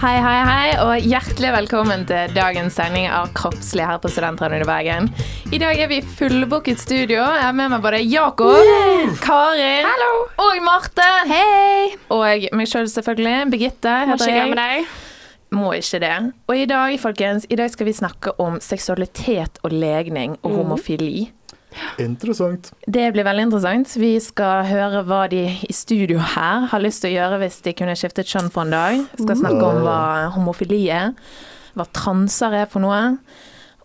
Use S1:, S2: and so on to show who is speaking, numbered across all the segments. S1: Hei, hei, hei, og hjertelig velkommen til dagens sending av Kroppslig her på Studentradioen i Bergen. I dag er vi i fullbooket studio. Jeg har med meg både Jakob, Karin og Marte. Hei! Og meg sjøl, selv, selvfølgelig. Birgitte
S2: Må
S1: heter
S2: ikke
S1: jeg.
S2: glemme deg.
S1: Må ikke det. Og i dag, folkens, i dag skal vi snakke om seksualitet og legning
S2: Mm.
S1: og homofili.
S3: Interessant.
S1: Det blir veldig interessant. Vi skal høre hva de i studio her har lyst til å gjøre hvis de kunne skiftet kjønn for en dag. Vi skal snakke om hva homofili er, hva transer er for noe.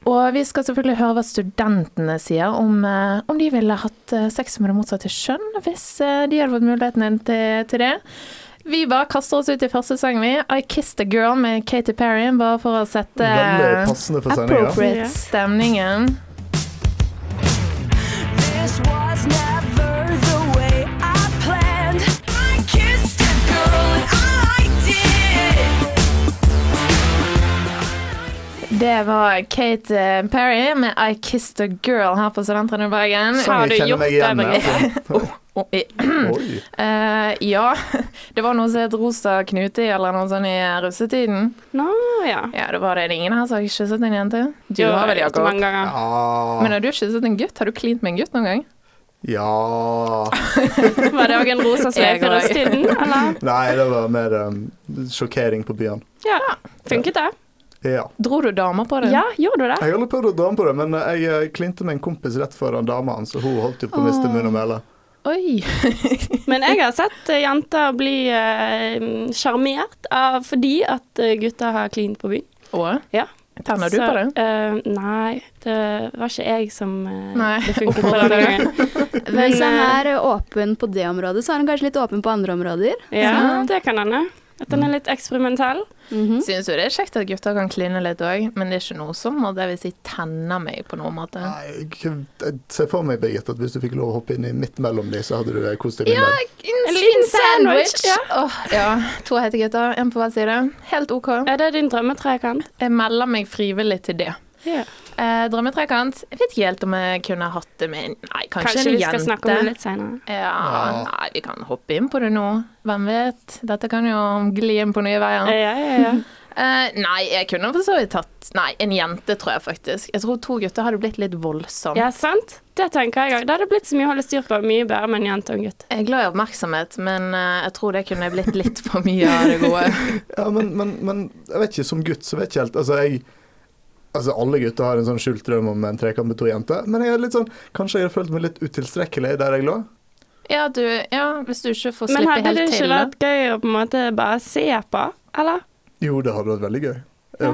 S1: Og vi skal selvfølgelig høre hva studentene sier om, eh, om de ville hatt eh, sex med det motsatte kjønn, hvis eh, de hadde fått muligheten til, til det. Vi bare kaster oss ut i første sang, vi. I Kissed a Girl med Katy Perry, bare for å sette
S3: Veldig passende for sendinga.
S1: Eh, appropriate stemningen.
S4: This was never the way I planned. I kissed a girl and I liked it.
S1: Det var Kate eh, Perry med I Kissed a Girl her på Studentradioen i Bergen.
S2: Har du
S3: Jeg kjenner
S2: gjort
S3: meg
S2: det,
S3: igjen.
S2: Birgitte?
S3: altså.
S1: Og i-
S3: Oi.
S1: Eh, ja, det var noe som het Rosa knute eller noe sånt i russetiden.
S2: Nå, ja.
S1: Ja, det var det. Det er Ingen her som har kysset en jente. Du
S2: Jo,
S1: har vel,
S2: ikke
S1: Jakob?
S2: Mange ganger.
S1: Men
S3: Ja.
S1: har du kysset en gutt? Har du klint med en gutt noen gang?
S3: ja
S2: Var det òg en rosa
S1: Jeg
S2: sløyfe i
S1: var-
S2: russetiden, eller?
S3: Nei, det var mer um, sjokkering på byen.
S2: Ja. Funket det?
S3: Ja.
S1: Dro du damer på det?
S2: Ja, gjorde du det?
S3: Jeg har aldri prøvd å dame på det, men eh, jeg eh, klinte med en kompis rett foran dama hans, og hun holdt jo på å miste munn og mæle.
S1: Oi.
S2: Men jeg har sett eh, jenter bli eh, sjarmert av- fordi at eh, gutter har klint på byen.
S1: Og
S2: Ja.
S1: tenner du
S2: Så,
S1: på det?
S2: eh, nei, det var ikke jeg som eh,
S1: Nei.
S2: det funket på denne gangen. Men,
S5: Hvis han
S2: eh,
S5: er åpen på det området, så er han kanskje litt åpen på andre områder.
S2: ja, det kan hende. At den er litt eksperimentell.
S1: Syns jo det er kjekt at gutter kan kline litt òg, men det er ikke noe som må det vil si tenner meg på noen måte.
S3: Nei, Jeg jeg ser for meg, Birgit, at hvis du fikk lov å hoppe inn i midt mellom de, så hadde du eh, kost deg litt
S1: Ja,
S3: mer.
S1: en
S2: En
S1: liten
S2: liten
S1: sandwich.
S2: sandwich,
S1: Ja. Åh, ja. To hete gutter, en på hver side. Helt OK.
S2: Er det din drømmetrekant?
S1: Jeg melder meg frivillig til det.
S2: Ja.
S1: Eh, drømmetrekant. Jeg vet ikke helt om jeg kunne hatt det med en- Nei, kanskje,
S2: Kanskje
S1: en
S2: vi
S1: jente.
S2: skal snakke om det litt seinere.
S1: Ja, nei, vi kan hoppe inn på det nå. Hvem vet? Dette kan jo gli inn på nye veier.
S2: Ja, ja, ja.
S1: Eh, nei, jeg kunne for så vidt tatt Nei, en jente, tror jeg faktisk. Jeg tror to gutter hadde blitt litt voldsomt.
S2: Ja, sant? Det tenker jeg òg. Det hadde blitt så mye å holde styr på. Mye bedre med en jente og en gutt.
S1: Jeg er glad i oppmerksomhet, men eh, jeg tror det kunne blitt litt for mye av det gode.
S3: Ja, men, men, men jeg vet ikke, som gutt så vet jeg ikke helt. Altså, jeg Altså, alle gutter har en sånn skjult drøm om en trekant med to jenter, men jeg er litt sånn, kanskje jeg har følt meg litt utilstrekkelig der jeg lå.
S1: Ja, du, ja, hvis du ikke får
S2: Men
S1: slippe
S2: hadde
S1: helt
S2: det
S1: til.
S2: ikke
S1: da.
S2: vært gøy å på en måte bare se på? Eller?
S3: Jo, det hadde vært veldig gøy. Jo.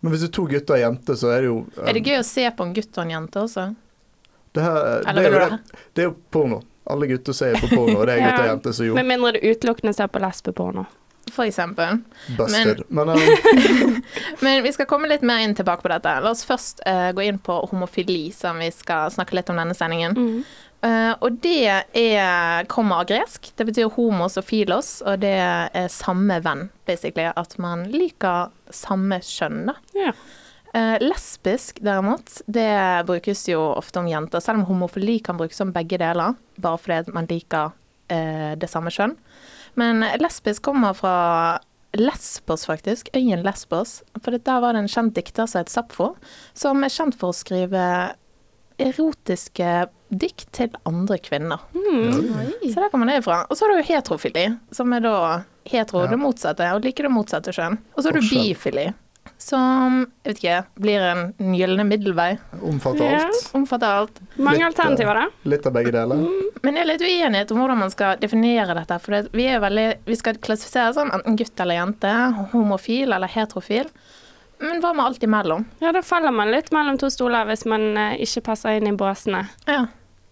S3: Men hvis det er to gutter og ei jente, så er det jo eh,
S1: Er det gøy å se på en gutt og en jente også?
S3: Det, her, det,
S1: Eller
S3: er jo,
S1: vil du
S3: det, det er jo porno. Alle gutter ser på porno, og det er
S2: Ja.
S3: gutter og jenter som jo
S2: Med mindre du utelukkende ser på lesbeporno.
S1: For eksempel.
S3: busted. Men, eh,
S1: Men vi skal komme litt mer inn tilbake på dette. La oss først eh, gå inn på homofili, som vi skal snakke litt om denne sendingen.
S2: Mm.
S1: Eh, og det er, kommer av gresk. Det betyr homos og filos, og det er samme venn, basically. At man liker samme kjønn, da.
S2: Ja.
S1: Eh, lesbisk, derimot, det brukes jo ofte om jenter, selv om homofili kan brukes om begge deler, bare fordi at man liker eh, det samme kjønn. Men lesbisk kommer fra Lesbos, faktisk. Øyen Lesbos. For det- der var det en kjent dikter som het Sapfo, som er kjent for å skrive erotiske dikt til andre kvinner. Så der kommer det ifra. Og så har du jo heterofili, som er da hetero, det motsatte, og liker det motsatte kjønn. Og så har du
S3: Forskjell.
S1: bifili, som jeg vet ikke, blir en den gylne middelvei.
S3: um, omfatter
S2: Ja.
S3: alt.
S1: Omfatter alt.
S2: Mange
S3: Litt,
S2: alternativer, da.
S3: Litt av begge deler.
S1: Men det er litt uenighet om hvordan man skal definere dette. For det, vi, er jo veldig, vi skal klassifisere sånn enten gutt eller jente, homofil eller heterofil. Men hva med alt imellom?
S2: Ja, da faller man litt mellom to stoler hvis man eh, ikke passer inn i båsene.
S1: Ja.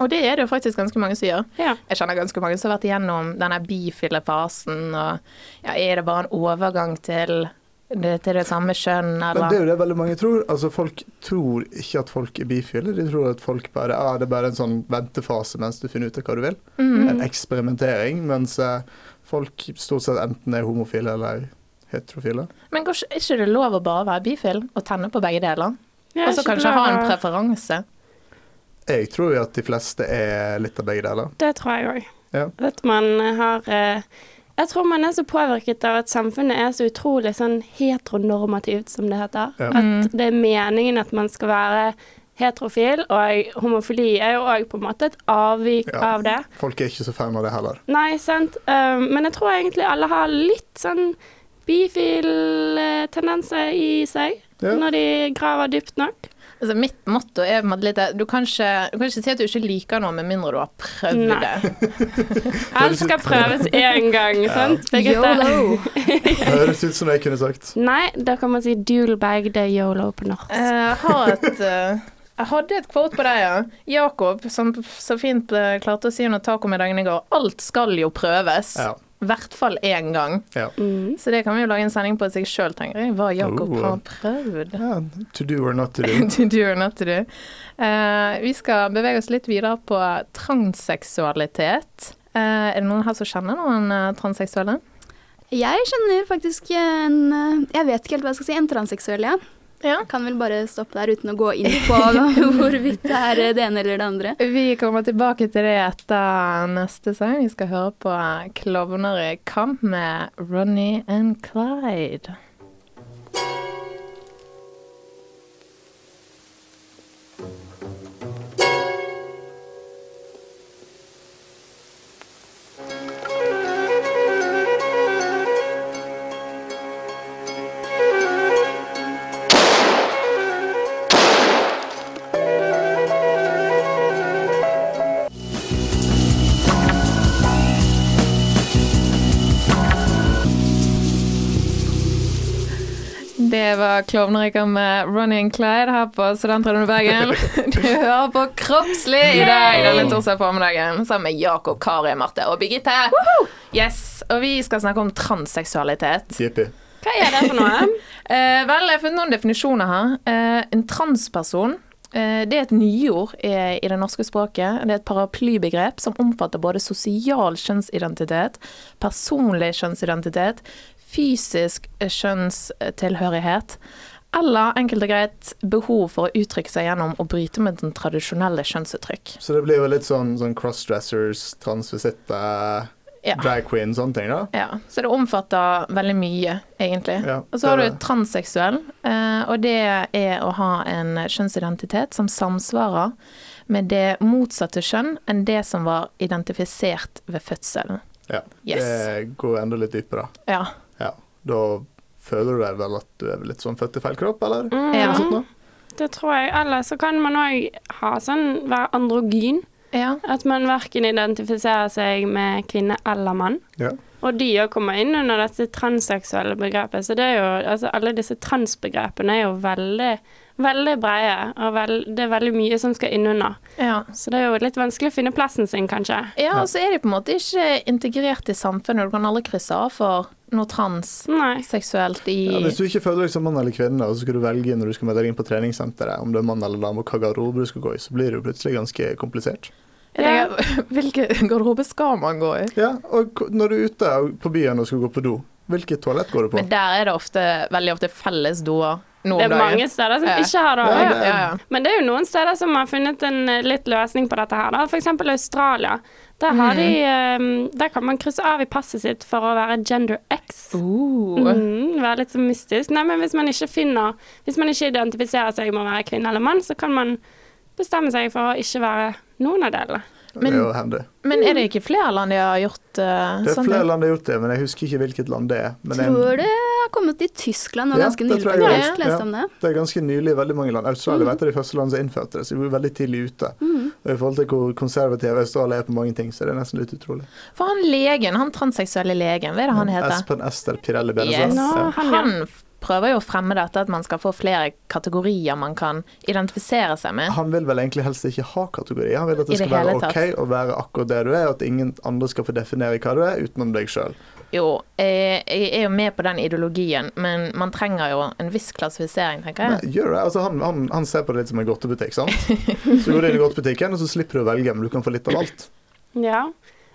S1: Og det er det jo faktisk ganske mange som gjør.
S2: Ja.
S1: Jeg kjenner ganske mange som har vært igjennom denne bifile fasen, og ja, er det bare en overgang til det, til det samme kjønn,
S3: Men det er
S1: eller
S3: jo det veldig mange tror. Altså, folk tror ikke at folk er bifile. De tror at folk bare ja, det er bare en sånn ventefase mens du finner ut av hva du vil.
S1: Mm.
S3: En eksperimentering. Mens eh, folk stort sett enten er homofile eller heterofile.
S1: Men går ikke- er ikke det lov å bare være bifil og tenne på begge deler?
S2: Ja,
S1: Og så
S2: ikke
S1: kanskje ha en
S2: lov å-
S1: preferanse?
S3: Jeg tror jo at de fleste er litt av begge deler.
S2: Det tror jeg òg.
S3: Ja.
S2: At man har eh, Jeg tror man er så påvirket av at samfunnet er så utrolig sånn heteronormativt, som det heter.
S3: Ja.
S1: Mm.
S2: At det er meningen at man skal være heterofil, og homofili er jo òg på en måte et avvik
S3: Ja.
S2: av det.
S3: Folk er ikke så fan av det heller.
S2: Nei, sant. Um, men jeg tror egentlig alle har litt sånn bifil-tendenser i seg
S3: Ja.
S2: når de graver dypt nok.
S1: Altså, mitt motto er på en måte litt det, du, kan ikke, du kan ikke si at du ikke liker noe med mindre du har prøvd
S2: Nei.
S1: det.
S2: Alt skal prøves én gang, sant? Birgitte?
S5: Yolo.
S3: Høres ut som jeg kunne sagt.
S2: Nei, da kan man si dual bag det er yolo på norsk.
S1: Eh, Jeg, har et, eh, jeg hadde et quote på deg, ja. Jakob, som så fint eh, klarte å si under tacomiddagen i går. Alt skal jo prøves. I
S3: Ja.
S1: hvert fall én gang.
S3: ja.
S2: Mm.
S1: Så det kan vi jo lage en sending på seg sjøl, tenker jeg. Hva Jakob
S3: Oh.
S1: har prøvd.
S3: ja. To do or not to do.
S1: To do or not to do. Eh, vi skal bevege oss litt videre på transseksualitet. Eh, er det noen her som kjenner noen eh, transseksuelle?
S5: Jeg kjenner faktisk en eh, Jeg vet ikke helt hva jeg skal si. En transseksuell, ja.
S1: Ja.
S5: Kan vel bare stoppe der uten å gå inn på hvorvidt det er eh, det ene eller det andre.
S1: Vi kommer tilbake til det etter neste sang. Vi skal høre på Klovner i kamp med Ronny and Clyde. Det var Klovner i kamp med Ronny and Clyde her på Studentradioen i Bergen. Du hører på Kroppslig i dag denne torsdag formiddagen sammen med Jakob, Kari, Marte og Birgitte. Yes, Og vi skal snakke om transseksualitet.
S3: Jippi.
S2: Hva er det for noe?
S1: Eh, vel, jeg har funnet noen definisjoner her. Eh, en transperson eh, det er et nyord i, i det norske språket. Det er et paraplybegrep som omfatter både sosial kjønnsidentitet, personlig kjønnsidentitet, fysisk eh, kjønnstilhørighet, eller enkelt og greit behov for å uttrykke seg gjennom å bryte med den tradisjonelle kjønnsuttrykk.
S3: Så det blir jo litt sånn, sånn crossdressers, transvisitte,
S1: Ja.
S3: drag queen, sånne ting, da.
S1: Ja, Så det omfatter veldig mye, egentlig.
S3: Ja,
S1: og så har
S3: det er
S1: du
S3: det.
S1: transseksuell, eh, og det er å ha en kjønnsidentitet som samsvarer med det motsatte kjønn enn det som var identifisert ved fødselen.
S3: Ja.
S1: Yes.
S3: Det Eh, går enda litt dypere, da.
S1: Ja.
S3: Ja. Da føler du deg vel at du er litt sånn født i feil kropp, eller? Sånn,
S1: Ja.
S3: Sånt nå?
S2: Mm. Det tror jeg. Eller så kan man òg ha sånn være androgyn.
S1: ja.
S2: At man verken identifiserer seg med kvinne eller mann.
S3: Ja.
S2: Og de òg kommer inn under dette transseksuelle begrepet. Så det er jo, altså alle disse transbegrepene er jo veldig, veldig brede, og vel, det er veldig mye som skal innunder.
S1: ja.
S2: Så det er jo litt vanskelig å finne plassen sin, kanskje.
S1: Ja, og så er de på en måte ikke integrert i samfunnet, og du kan aldri krysse av for noe transseksuelt
S2: Nei.
S1: i
S3: Ja, hvis du ikke føler deg som mann eller kvinne, og så skal du velge når du skal møte deg inn på treningssenteret, om du er mann eller dame, og hva garderobe du skal gå i, så blir det jo plutselig ganske komplisert.
S1: Jeg tenker, Hvilken garderobe skal man gå i?
S3: Ja, og k- når du er ute på byen og skal gå på do, hvilket toalett går du på?
S1: Men der er det ofte, veldig ofte felles doer. nå om
S2: Det er
S1: dagen.
S2: mange steder som
S1: Ja.
S2: ikke har det.
S1: Ja,
S2: også.
S1: ja, ja.
S2: Men det er jo noen steder som har funnet en eh, litt løsning på dette her. da. For eksempel Australia. Der, har de, eh, der kan man krysse av i passet sitt for å være gender X.
S1: Uh.
S2: Mm, være litt så mystisk. Nei, men hvis man ikke finner Hvis man ikke identifiserer seg med å være kvinne eller mann, så kan man bestemme seg for å ikke være noen av delene.
S3: det
S1: men-
S3: er jo handy.
S1: Men er det ikke flere land de har gjort eh,
S3: Det er
S1: sånn?
S3: flere land som har gjort det, men jeg husker ikke hvilket land det er. Men jeg-
S5: Tror det har kommet til Tyskland nå
S3: Ja,
S5: ganske
S3: det
S5: nylig.
S3: tror jeg
S5: Jeg
S1: det.
S5: har lest
S3: Ja.
S5: om det. Mm.
S3: Det er ganske nylig i veldig mange land. Australia var et av de første landene som innførte det, så de var veldig tidlig ute. Og i forhold til hvor konservativ Australia er på mange ting, så er det nesten litt utrolig.
S1: For han legen, han transseksuelle legen, hva er det han heter?
S3: Espen Ester Pirelli altså.
S1: Yes.
S3: Benezet.
S2: Nå,
S3: Ja.
S2: han, ja.
S1: Han f- prøver jo å fremme dette at man skal få flere kategorier man kan identifisere seg med.
S3: Han vil vel egentlig helst ikke ha kategori. Han vil at
S1: I
S3: det
S1: det
S3: skal være
S1: hele
S3: OK
S1: tatt.
S3: å være akkurat det du er, og at ingen andre skal få definere hva du er utenom deg sjøl.
S1: Jo, eh, jeg er jo med på den ideologien, men man trenger jo en viss klassifisering, tenker jeg.
S3: Altså, han, han, han ser på det litt som en godtebutikk, sant. Så går du inn i godtebutikken, og så slipper du å velge, men du kan få litt av alt.
S2: ja.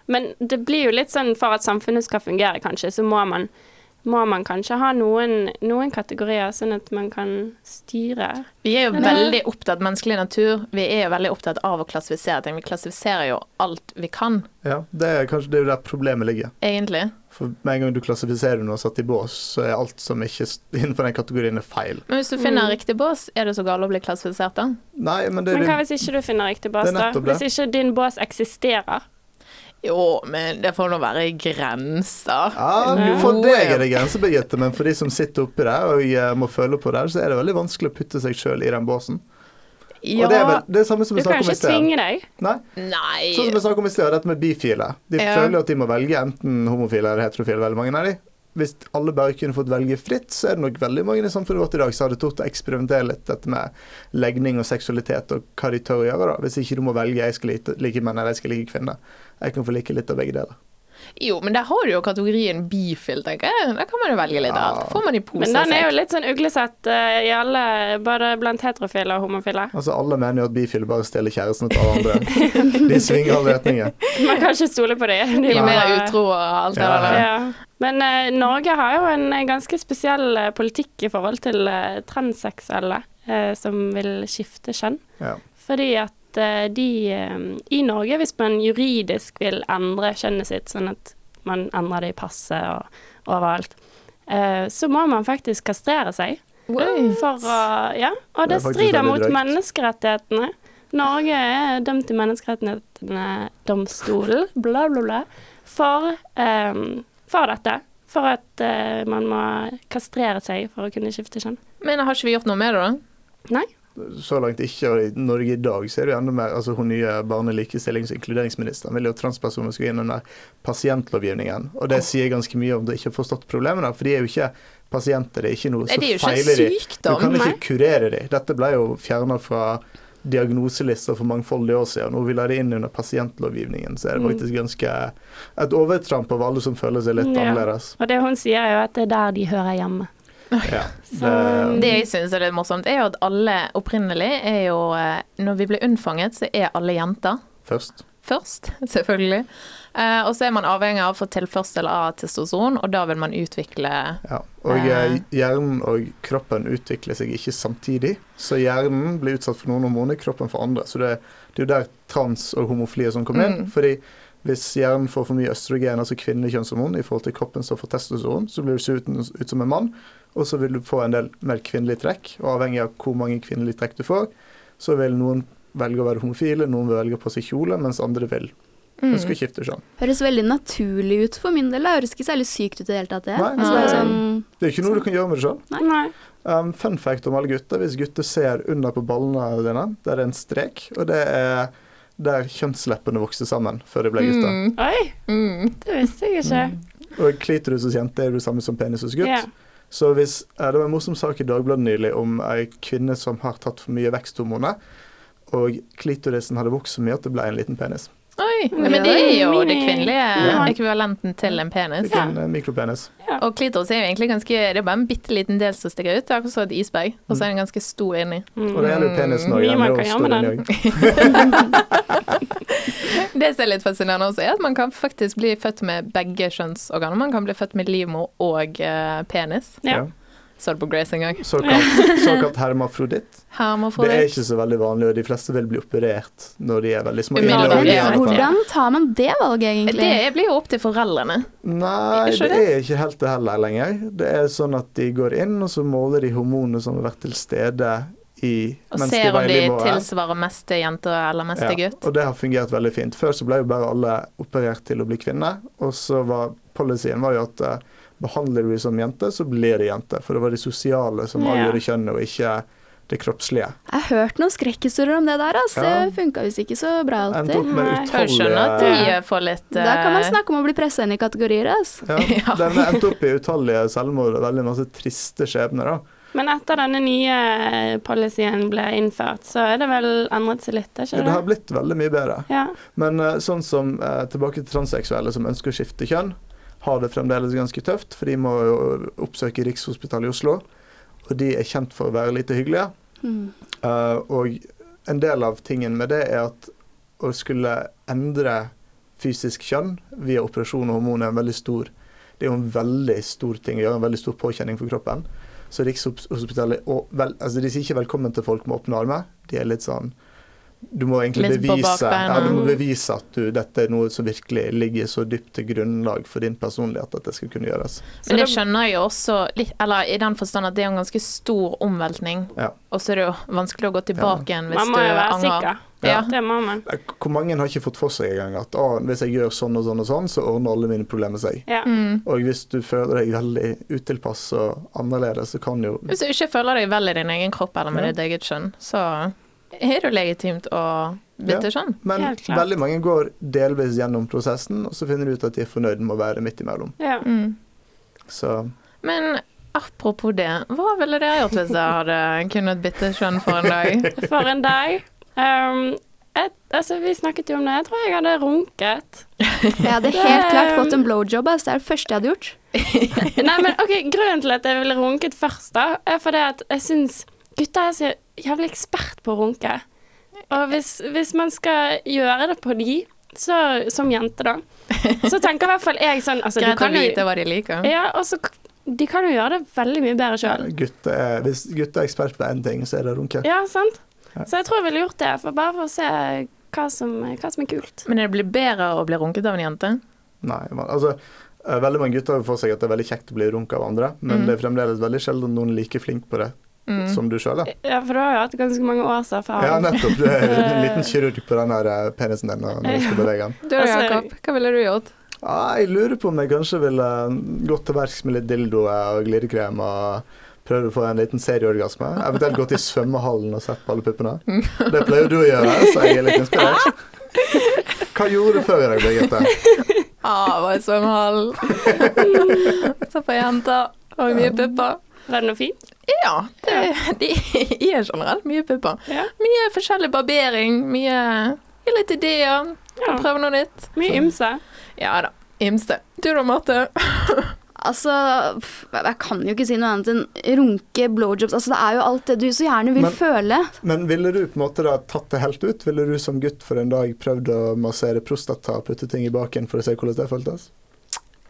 S2: Men det blir jo litt sånn for at samfunnet skal fungere, kanskje, så må man må man kanskje ha noen, noen kategorier, sånn at man kan styre.
S1: Vi er jo
S2: Men det-
S1: veldig opptatt av menneskelig natur. Vi er jo veldig opptatt av å klassifisere ting. Vi klassifiserer jo alt vi kan,
S3: Ja, det er kanskje det er jo der problemet ligger.
S1: egentlig.
S3: For med en gang du klassifiserer noe og satt i bås, så er alt som ikke s- innenfor den kategorien er feil.
S1: Men hvis du finner
S2: Mm.
S1: riktig bås, er det så galt å bli klassifisert da?
S3: Nei, men det er
S2: Men hva
S3: din,
S2: hvis ikke du finner riktig bås,
S3: Det er
S2: da?
S3: nettopp det.
S2: Hvis ikke din bås eksisterer?
S1: Jo, men det får nå være grenser.
S3: ja,
S2: Nei.
S3: For deg er det grenser, Birgitte, men for de som sitter oppi der og eh, må føle på det, her, så er det veldig vanskelig å putte seg sjøl i den båsen.
S1: Ja,
S3: Og det er vel, det er samme som
S2: Du
S3: vi
S2: kan
S3: snakket om
S2: ikke
S3: i sted.
S2: tvinge deg.
S3: Nei, sånn som
S1: nei.
S3: vi snakket om i sted, dette med bifile. De
S1: Ja.
S3: føler at de må velge enten homofile eller heterofile, veldig mange av de. Hvis alle bare kunne fått velge fritt, så er det nok veldig mange i samfunnet vårt i dag som hadde tort å eksperimentere litt dette med legning og seksualitet og hva de tør å gjøre, da. Hvis ikke du må velge jeg skal like, like menn eller jeg skal like kvinner. Jeg kan få like litt av begge deler.
S1: Jo, men der har du jo kategorien bifil, tenker jeg. Der kan man jo velge litt
S3: Ja.
S1: av. Får man i pose
S2: Men den er jo
S1: seg.
S2: litt sånn uglesett eh, i alle, både blant heterofile og homofile.
S3: Altså alle mener jo at bifile bare stjeler kjæresten til alle andre. De svinger alle retninger.
S2: Man kan ikke stole på dem.
S1: De er mer utro og alt det
S3: Ja,
S1: der.
S2: Ja. Men eh, Norge har jo en eh, ganske spesiell eh, politikk i forhold til eh, transseksuelle eh, som vil skifte kjønn.
S3: Ja.
S2: Fordi at eh, de eh, i Norge, hvis man juridisk vil endre kjønnet sitt, sånn at man endrer det i passet og overalt, eh, så må man faktisk kastrere seg. For å, ja, og
S3: Det
S2: det,
S3: er faktisk
S2: strider
S3: veldig
S2: mot
S3: drøyt.
S2: menneskerettighetene. Norge er dømt i Menneskerettighetene-domstolen, bla, bla, bla, for, eh, for dette. For at eh, man må kastrere seg for å kunne skifte kjønn.
S1: Men har ikke vi gjort noe med det, da?
S2: Nei.
S3: så langt ikke, og i Norge i dag så er det jo enda mer altså Hun nye barne-, likestillings- og inkluderingsministeren vil jo at transpersoner skal inn under pasientlovgivningen. Og det sier ganske mye om du ikke har forstått problemene, for de er jo ikke pasienter. Det er ikke noe
S1: Nei,
S3: som
S1: det er jo
S3: feiler
S1: ikke
S3: de. Du
S1: sykdom.
S3: kan
S1: nei.
S3: ikke kurere de. Dette ble jo fjerna fra diagnoselister for mangfoldige år siden. Nå vil ha det inn under pasientlovgivningen, så er det
S2: Mm.
S3: faktisk ganske et overtramp av alle som føler seg litt
S2: Ja.
S3: annerledes.
S2: Og det hun sier, er jo at det er der de hører hjemme.
S3: Ja.
S2: Så-
S1: Det jeg syns er litt morsomt, er jo at alle opprinnelig er jo eh, Når vi ble unnfanget, så er alle jenter
S3: Først.
S1: først, selvfølgelig. Eh, og så er man avhengig av å få tilførsel av testosteron, og da vil man utvikle
S3: Ja. Og eh, hjernen og kroppen utvikler seg ikke samtidig. Så hjernen blir utsatt for noen hormoner, kroppen for andre. Så det, det er jo der trans og homofili og sånn kommer inn.
S1: Mm.
S3: Fordi hvis hjernen får for mye østrogen, altså kvinnelig kjønnshormon, i forhold til kroppen står for testosteron, så blir du så ut, ut som en mann. Og så vil du få en del mer kvinnelige trekk. Og avhengig av hvor mange kvinnelige trekk du får, så vil noen velge å være homofile, noen vil velge på seg kjole, mens andre vil
S1: Mm.
S3: ønske å skifte kjønn.
S5: Høres veldig naturlig ut for min del. Det høres ikke særlig sykt ut i det hele tatt. Det.
S3: Nei,
S5: Altså, det er
S1: nei.
S5: sånn,
S3: Det er jo ikke noe du kan gjøre med det sjøl.
S5: Nei.
S2: Nei.
S3: Um, fun fact om alle gutter. Hvis gutter ser under på ballene dine, der er en strek, og det er der kjønnsleppene vokser sammen før de ble gutter.
S1: Mm,
S2: Oi,
S1: mm.
S2: det visste jeg ikke.
S3: Og klitoris hos jente er jo det samme som penis hos Mm, gutt.
S2: Ja.
S3: Så hvis, eh, Det var en morsom sak i Dagbladet nylig om ei kvinne som har tatt for mye veksthormoner, og klitorisen hadde vokst så mye at det ble en liten penis.
S1: Oi. Nei, men det er jo det kvinnelige
S2: Ja.
S1: ekvivalenten til en penis.
S3: Ikke en eh, mikropenis.
S1: Og klitoris er jo egentlig ganske Det er bare en bitte liten del som stikker ut. Det er akkurat som et isberg, og så er den ganske stor inni.
S2: Mm.
S3: Og det gjelder jo penisen òg.
S2: Mye man kan gjøre med den.
S1: Det som er litt fascinerende også, er at man kan faktisk bli født med begge kjønnsorganer. Man kan bli født med livmor og eh, penis.
S2: Ja.
S1: Så det på Grace en gang.
S3: Såkalt, såkalt hermafroditt. Det er
S1: Hermafrodit.
S3: ikke så veldig vanlig, og de fleste vil bli operert når de er veldig små.
S1: Umiddelbart,
S3: Eller-
S1: ja.
S5: Men hvordan tar man det valget,
S1: Det,
S5: egentlig?
S1: blir jo opp til foreldrene.
S3: Nei,
S1: Ikke
S3: det
S1: det?
S3: er ikke helt det heller lenger. Det er sånn at de går inn, og så måler de hormonene som har vært til stede i
S1: Og
S3: mens de
S1: ser om
S3: var i
S1: de
S3: livmoren.
S1: tilsvarer mest til jente eller mest til
S3: Ja,
S1: gutt.
S3: og det har fungert veldig fint. Før så ble jo bare alle operert til å bli kvinne, og så var policyen var jo at eh, behandler du dem som jente, så blir de jente. For det var det sosiale som
S2: Ja.
S3: avgjorde kjønnet, og ikke det kroppslige.
S5: Jeg har hørt noen skrekkhistorier om det der. Altså.
S3: Ja.
S5: Det funka visst ikke så bra
S3: Endte opp
S5: alltid.
S3: med
S2: Nei.
S1: Kan jo skjønne at de
S3: utallige
S1: eh, får litt
S5: Da kan man
S1: eh,
S5: snakke om å bli pressa inn i kategorier. Altså.
S3: ja,
S1: Ja.
S3: Den endte opp i utallige selvmord og veldig masse triste skjebner, da.
S2: Men etter denne nye eh, policyen ble innført, så er det vel endret seg litt, er
S3: Ja,
S2: ikke
S3: det
S2: det?
S3: har blitt veldig mye bedre.
S2: Ja.
S3: Men eh, sånn som eh, tilbake til transseksuelle som ønsker å skifte kjønn, har det fremdeles ganske tøft, for de må jo oppsøke Rikshospitalet i Oslo. Og de er kjent for å være lite hyggelige.
S5: Mm.
S3: Eh, og en del av tingen med det er at å skulle endre fysisk kjønn via operasjon og hormon er en veldig stor Det Det er jo en veldig stor ting å gjøre, en veldig stor påkjenning for kroppen. Så Rikshospitalet og vel, altså De sier ikke velkommen til folk med åpne armer. De er litt sånn Du må egentlig
S1: Litt på
S3: bevise,
S1: bakbeina.
S3: ja, du må bevise at du, dette er noe som virkelig ligger så dypt til grunnlag for din personlighet at det skal kunne gjøres.
S1: Men det
S2: Så da-
S1: skjønner jeg jo også litt, eller i den forstand at det er en ganske stor omveltning.
S3: Ja.
S1: Og så er det jo vanskelig å gå tilbake igjen hvis du
S2: Man må jo være
S1: angrer.
S2: sikker.
S1: Ja.
S2: Det må man.
S3: Hvor mange har ikke fått for seg engang at «Å, hvis jeg gjør sånn og sånn og sånn, så ordner alle mine problemer seg.
S2: Ja.
S1: Mm.
S3: Og hvis du føler deg veldig utilpass og annerledes, så kan jo
S1: Hvis du ikke føler deg vel i din egen kropp eller med
S3: Ja.
S1: ditt eget kjønn, så er det jo legitimt å bytte
S3: Ja.
S1: kjønn.
S3: Men
S2: Helt klart.
S3: veldig mange går delvis gjennom prosessen, og så finner de ut at de er fornøyd med å være midt imellom.
S2: Ja.
S3: Så
S1: Mm. Men apropos det, hva ville dere gjort hvis dere hadde kunnet bytte kjønn for en dag?
S2: For en dag. Um, et, altså, vi snakket jo om det. Jeg tror jeg hadde runket.
S5: Jeg hadde helt klart fått en blowjob. ass. Det er det første jeg hadde gjort.
S2: Nei, men ok, Grunnen til at jeg ville runket først, da, er fordi at jeg syns gutter er så jævlig ekspert på å runke. Og hvis, hvis man skal gjøre det på de, så, som jente, da, så tenker i hvert fall jeg sånn altså, du
S1: Greit å
S2: kan jo-
S1: vite hva de liker.
S2: Ja, og så De kan jo gjøre det veldig mye bedre sjøl.
S3: eh, gutter er, hvis gutter er ekspert på én ting, så er det runke.
S2: Ja, sant? Så jeg tror jeg ville gjort det, for bare for å se hva som, hva som er kult.
S1: Men det blir bedre å bli runket av en jente.
S3: Nei, man, altså, eh, veldig mange gutter har for seg at det er veldig kjekt å bli runka av andre, men det er fremdeles veldig sjelden noen er like flink på det
S1: Mm.
S3: som du sjøl er.
S2: Ja, for du har jo hatt ganske mange års
S3: Ja,
S2: erfaring.
S3: nettopp. Du er en liten kirurg på den der eh, penisen din når du skal bevege den.
S1: Du da,
S2: Altså-
S1: Jakob, hva ville du gjort?
S3: Ja, jeg lurer på om jeg kanskje ville gått til verks med litt dildoer og glidekrem og prøvd å få en liten serieorgasme. Eventuelt gått i svømmehallen og sett på alle puppene. Det pleier jo du å gjøre, så jeg er litt inspirert. Hva gjorde du før i dag, Birgitte?
S1: Ah, var i svømmehallen. Så på jenter. Og mye pupper.
S2: Var det noe fint?
S1: Ja, det, de er generelt mye pupper.
S2: Ja.
S1: Mye forskjellig barbering, mye, mye litt ideer.
S2: Ja.
S1: Prøve noe nytt.
S2: Mye ymse.
S1: Ja da. Imste. Du da, Marte?
S5: Altså, pff, jeg kan jo ikke si noe annet enn runke, blowjobs Altså, det er jo alt det du så gjerne vil
S3: Men-
S5: føle.
S3: Men ville du på en måte da tatt det helt ut? Ville du som gutt for en dag prøvd å massere prostata og putte ting i baken for å se hvordan det føltes?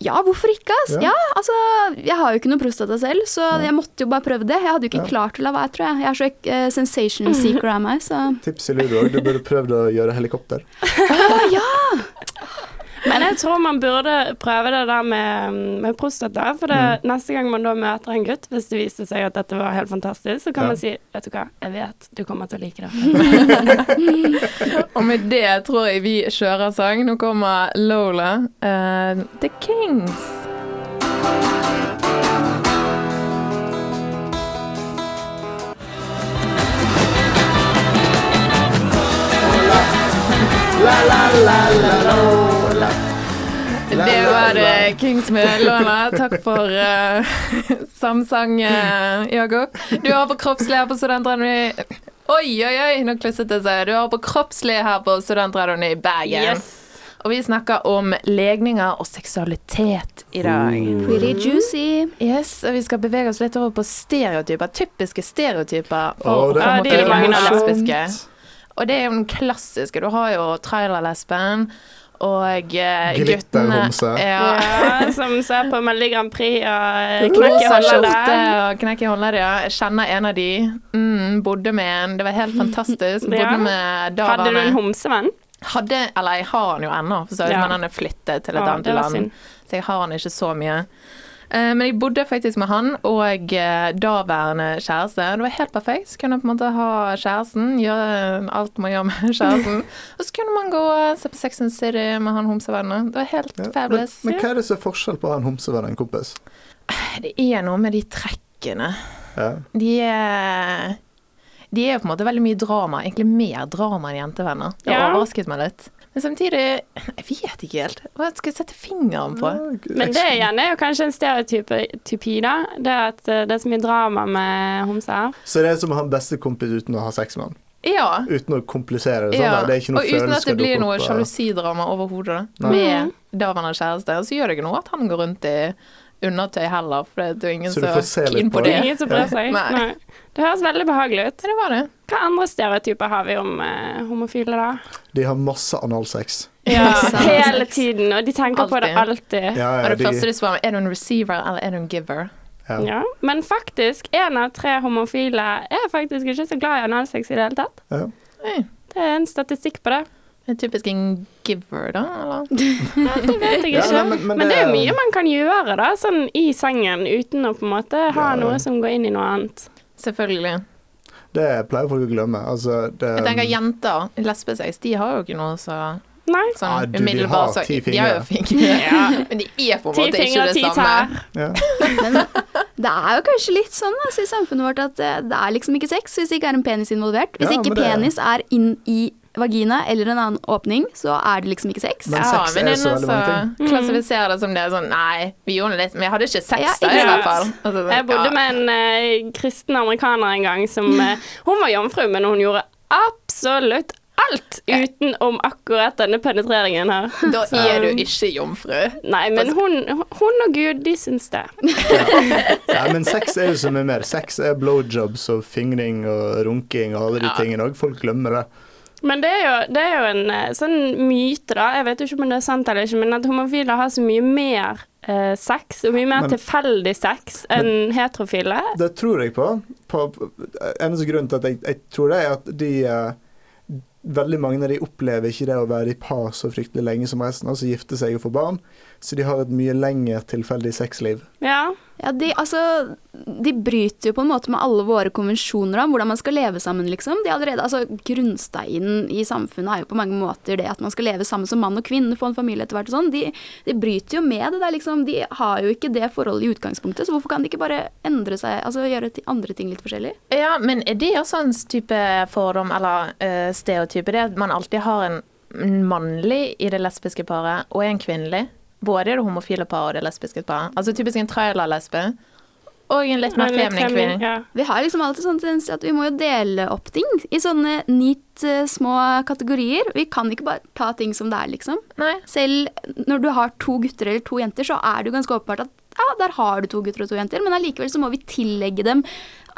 S5: Ja, hvorfor ikke? ass?
S3: Ja.
S5: Ja. altså, jeg har jo ikke noe prostata selv, så jeg måtte jo bare prøve det. Jeg hadde jo ikke
S3: Ja.
S5: klart å la være, tror jeg. Jeg er så eh, sensation seeker av meg, så
S3: Tips i ludo òg, du burde prøvd å gjøre helikopter.
S2: Men jeg tror man burde prøve det der med, med prostata. For
S3: Mm.
S2: det, neste gang man da møter en gutt, hvis det viste seg at dette var helt fantastisk, så kan
S3: Ja.
S2: man si Vet du hva, jeg vet du kommer til å like det.
S1: Og med det tror jeg vi kjører sang. Nå kommer Lola, eh, The Kings. Det var eh, det Kings med Lola. Takk for eh, samsang, eh, Jakob. Du hører på Kroppslig her på Studentradioen i Oi, oi, oi, nå klusset det seg. Du hører på Kroppslig her på Studentradioen i Bergen. Og vi snakker om legninger og seksualitet i dag.
S2: Mm.
S5: pretty juicy.
S1: Yes, og Vi skal bevege oss litt over på stereotyper. Typiske stereotyper
S3: Å,
S1: for
S3: det
S2: Ja, det er det
S1: homofile
S2: mange av.
S1: og lesbiske. Og det er jo den klassiske. Du har jo trailerlesben og eh, guttene
S3: Glitterhomse.
S1: Ja.
S2: Ja, som ser på Melodi Grand Prix og eh, knekker
S1: Rosa skjorte
S2: holdene.
S1: og knekk i håndleddet. ja. Jeg kjenner en av de. Mm, bodde med en. Det var helt fantastisk. Bodde
S2: Ja.
S1: med
S2: Hadde du en
S1: daværende
S2: homsevenn?
S1: Hadde Eller jeg har han jo ennå, for så vidt,
S2: Ja.
S1: men han er flyttet til et
S2: Ja,
S1: annet
S2: det var
S1: land.
S2: synd.
S1: Så jeg har han ikke så mye. Eh, Men jeg bodde faktisk med han og eh, daværende kjæreste. Det var helt perfekt. Så kunne jeg på en måte ha kjæresten, gjøre eh, alt man gjør med kjæresten. Og så kunne man gå og se på Sex and the City med han homsevennene. Det var helt
S3: Ja, men,
S1: fabulous.
S3: men hva er det som er forskjell på å ha en homsevenn og en kompis?
S1: Det er noe med de trekkene.
S3: Ja.
S1: De er De er jo på en måte veldig mye drama. Egentlig mer drama enn jentevenner. Det
S2: Ja.
S1: overrasket meg litt. Men samtidig Jeg vet ikke helt hva jeg skal sette fingeren på.
S2: Men det igjen er jo kanskje en stereotypi, da. Det at eh, det er så mye drama med homser.
S3: Så det er som å ha en bestekompis uten å ha sex med han.
S1: Ja.
S3: Uten å komplisere det. sånn
S1: ja.
S3: da. Det er ikke noe
S1: Og uten at
S3: følelser
S1: det blir
S3: dukker
S1: noe
S3: opp, eh.
S1: sjalusidrama overhodet. da.
S3: Nei.
S1: Med daværende kjæreste. Og så gjør det ikke noe at han går rundt i undertøy heller, for det er jo ingen
S3: Så du får se
S1: så
S3: litt
S1: keen på
S3: på
S1: det.
S3: det.
S2: Ingen som bryr seg.
S1: Nei.
S2: Nei. Det høres veldig behagelig ut.
S1: Ja, det var det.
S2: Hva andre stereotyper har vi om eh, homofile, da?
S3: De har masse analsex.
S1: Ja.
S2: Hele tiden, og de tenker på det alltid.
S3: Ja,
S1: Og
S3: ja,
S1: det
S3: de,
S1: første du spør om, er du en receiver eller er du en giver?
S3: ja.
S2: Ja. Men faktisk, én av tre homofile er faktisk ikke så glad i analsex i det hele tatt.
S3: Ja.
S1: Oi,
S2: Det er en statistikk på det.
S1: det er typisk en giver, da? Eller?
S2: Det vet jeg
S3: Ja,
S2: ikke.
S3: nei,
S2: men,
S3: men- eh, men
S2: det
S3: det-
S2: er jo mye man kan gjøre da, sånn i sengen, uten å på en måte ha
S3: Ja.
S2: noe som går inn i noe annet.
S1: Selvfølgelig.
S3: Det pleier folk å glemme. Altså, det,
S1: Jeg tenker jenter, lesbesex, de har jo ikke noe så
S2: Nei.
S1: sånn
S3: Ah, du, de
S1: umiddelbar
S3: har ti
S1: så, De har jo fingre. Men de er på en
S2: Ti
S1: måte ikke
S2: fingre,
S1: det
S2: ti
S1: samme.
S2: tær.
S3: ja.
S5: Men det er jo kanskje litt sånn altså, i samfunnet vårt at eh, det er liksom ikke sex hvis det ikke er en penis involvert. Hvis
S3: Ja,
S5: ikke
S3: men det-
S5: penis er inn i vagina eller en annen åpning, så er det liksom ikke sex.
S3: Men
S1: Ja,
S3: sex
S1: men
S3: er
S1: det
S3: så
S1: er
S3: veldig
S1: noe
S3: mange ting.
S2: Mm.
S1: som klassifiserer det som det er sånn Nei, vi gjorde litt, men jeg hadde ikke sex
S5: Ja,
S1: da, i
S5: ikke
S1: hvert
S2: sant.
S1: fall. Altså, sånn,
S2: Jeg bodde
S1: ja.
S2: med en eh, kristen amerikaner en gang som eh, Hun var jomfru, men hun gjorde absolutt alt utenom akkurat denne penetreringen her.
S1: Da er du ikke jomfru.
S2: Nei, men hun, hun og Gud, de syns det.
S3: Nei, men sex er jo så mye mer. Sex er blowjobs og fingring og runking og alle de tingene òg. Folk glemmer det.
S2: Men det er jo, det er jo en eh, sånn myte, da. Jeg vet jo ikke om det er sant eller ikke, men at homofile har så mye mer eh, sex, og mye mer
S3: Men-
S2: tilfeldig sex enn heterofile.
S3: Det tror jeg på. på eneste grunn til at jeg, jeg tror det, er at de eh, Veldig mange av de opplever ikke det å være i par så fryktelig lenge som resten, altså gifte seg og få barn, så de har et mye lengre tilfeldig sexliv.
S2: Ja.
S5: Ja, de, altså, de bryter jo på en måte med alle våre konvensjoner om hvordan man skal leve sammen, liksom. De er allerede, altså, grunnsteinen i samfunnet er jo på mange måter det at man skal leve sammen som mann og kvinne, få en familie etter hvert og sånn. De, de bryter jo med det der, liksom. De har jo ikke det forholdet i utgangspunktet, så hvorfor kan de ikke bare endre seg, altså gjøre ti- andre ting litt forskjellig?
S1: Ja, men er det også en type fordom eller eh, stereotype? Det at man alltid har en mannlig i det lesbiske paret og en kvinnelig. Både i det homofile paret og det lesbiske paret. Altså typisk en trailer-lesbe og en litt mer
S2: Litt
S1: feminin
S2: femi-
S1: kvinne.
S2: ja.
S5: Vi har liksom alltid sånn tendens til at vi må jo dele opp ting i sånne neat eh, små kategorier. Vi kan ikke bare ta ting som det er, liksom.
S1: Nei.
S5: Selv når du har to gutter eller to jenter, så er det jo ganske åpenbart at ja, der har du to gutter og to jenter, men allikevel så må vi tillegge dem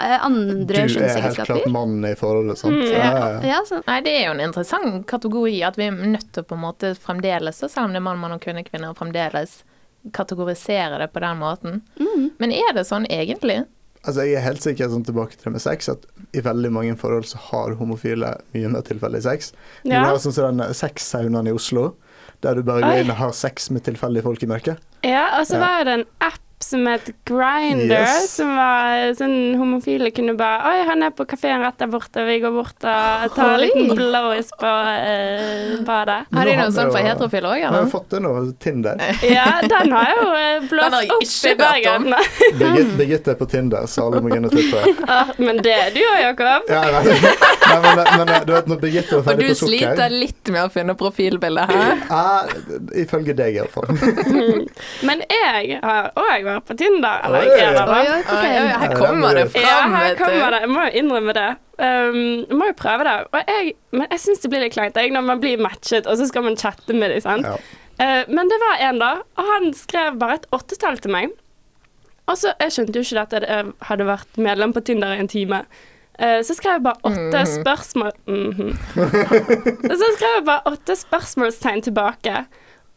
S5: eh,
S3: Du
S5: andre
S3: er helt klart
S5: kjønnsegenskaper. Mm,
S3: mann i forholdet, sant. Ja, ja, ja.
S5: Ja, så,
S1: Nei, det er jo en interessant kategori at vi er nødt til å på en måte fremdeles, og selv om det er mann, mann og kvinne, kvinne, og fremdeles kategorisere det på den måten. Men er det sånn egentlig?
S3: Altså, jeg er helt sikker sånn tilbake til det med sex, at i veldig mange forhold så har homofile mye mer tilfeldig sex. Du
S2: Ja.
S3: har sånn som den sexsaunaen i Oslo, der du bare
S2: Oi.
S3: går inn og har sex med tilfeldige folk i mørket.
S2: Ja, og så
S3: Ja.
S2: var det en app som het Grinder,
S3: Yes.
S2: som var sånn homofile kunne bare Oi, han er på kafeen rett der borte, vi går bort og tar en
S1: Oi.
S2: liten blowies på eh, badet.
S1: Har de
S3: Nå
S1: noe sånn for
S3: jo-
S1: heterofile òg,
S3: Nå har
S1: eller?
S3: vi fått det nå, Tinder.
S2: Ja, den har jo eh,
S1: Den har
S2: blåst
S1: jeg
S2: opp
S1: ikke
S2: i
S1: hørt om.
S2: Bergen.
S3: Birgit- Birgitte er på Tinder, så alle må gå inn og titte.
S2: Ah, Men det er du òg, Jakob.
S3: Ja, nei, nei, men, men du vet når Birgitte var
S1: Og
S3: ferdig
S1: du
S3: på sukker
S1: sliter litt med å finne profilbildet her.
S3: Ja, Ifølge deg, iallfall.
S2: Men jeg har òg vært på Tinder. Eller
S3: Oi.
S2: jeg er
S5: oi,
S2: det.
S5: oi,
S1: Oi,
S5: fortell.
S1: oi, her kommer det fram,
S2: Ja, her
S1: vet du.
S2: kommer det. Jeg må jo innrømme det. Um, jeg må jo prøve det. Og jeg, men jeg syns det blir litt kleint jeg, når man blir matchet, og så skal man chatte med dem. sant?
S3: Ja.
S2: Eh, men det var en, da. Og han skrev bare et åttetall til meg. Og så, Jeg skjønte jo ikke dette, jeg hadde vært medlem på Tinder i en time. Eh, så skrev jeg bare åtte
S1: Mm.
S2: spørsmål Mhm. Og Så skrev jeg bare åtte spørsmålstegn tilbake.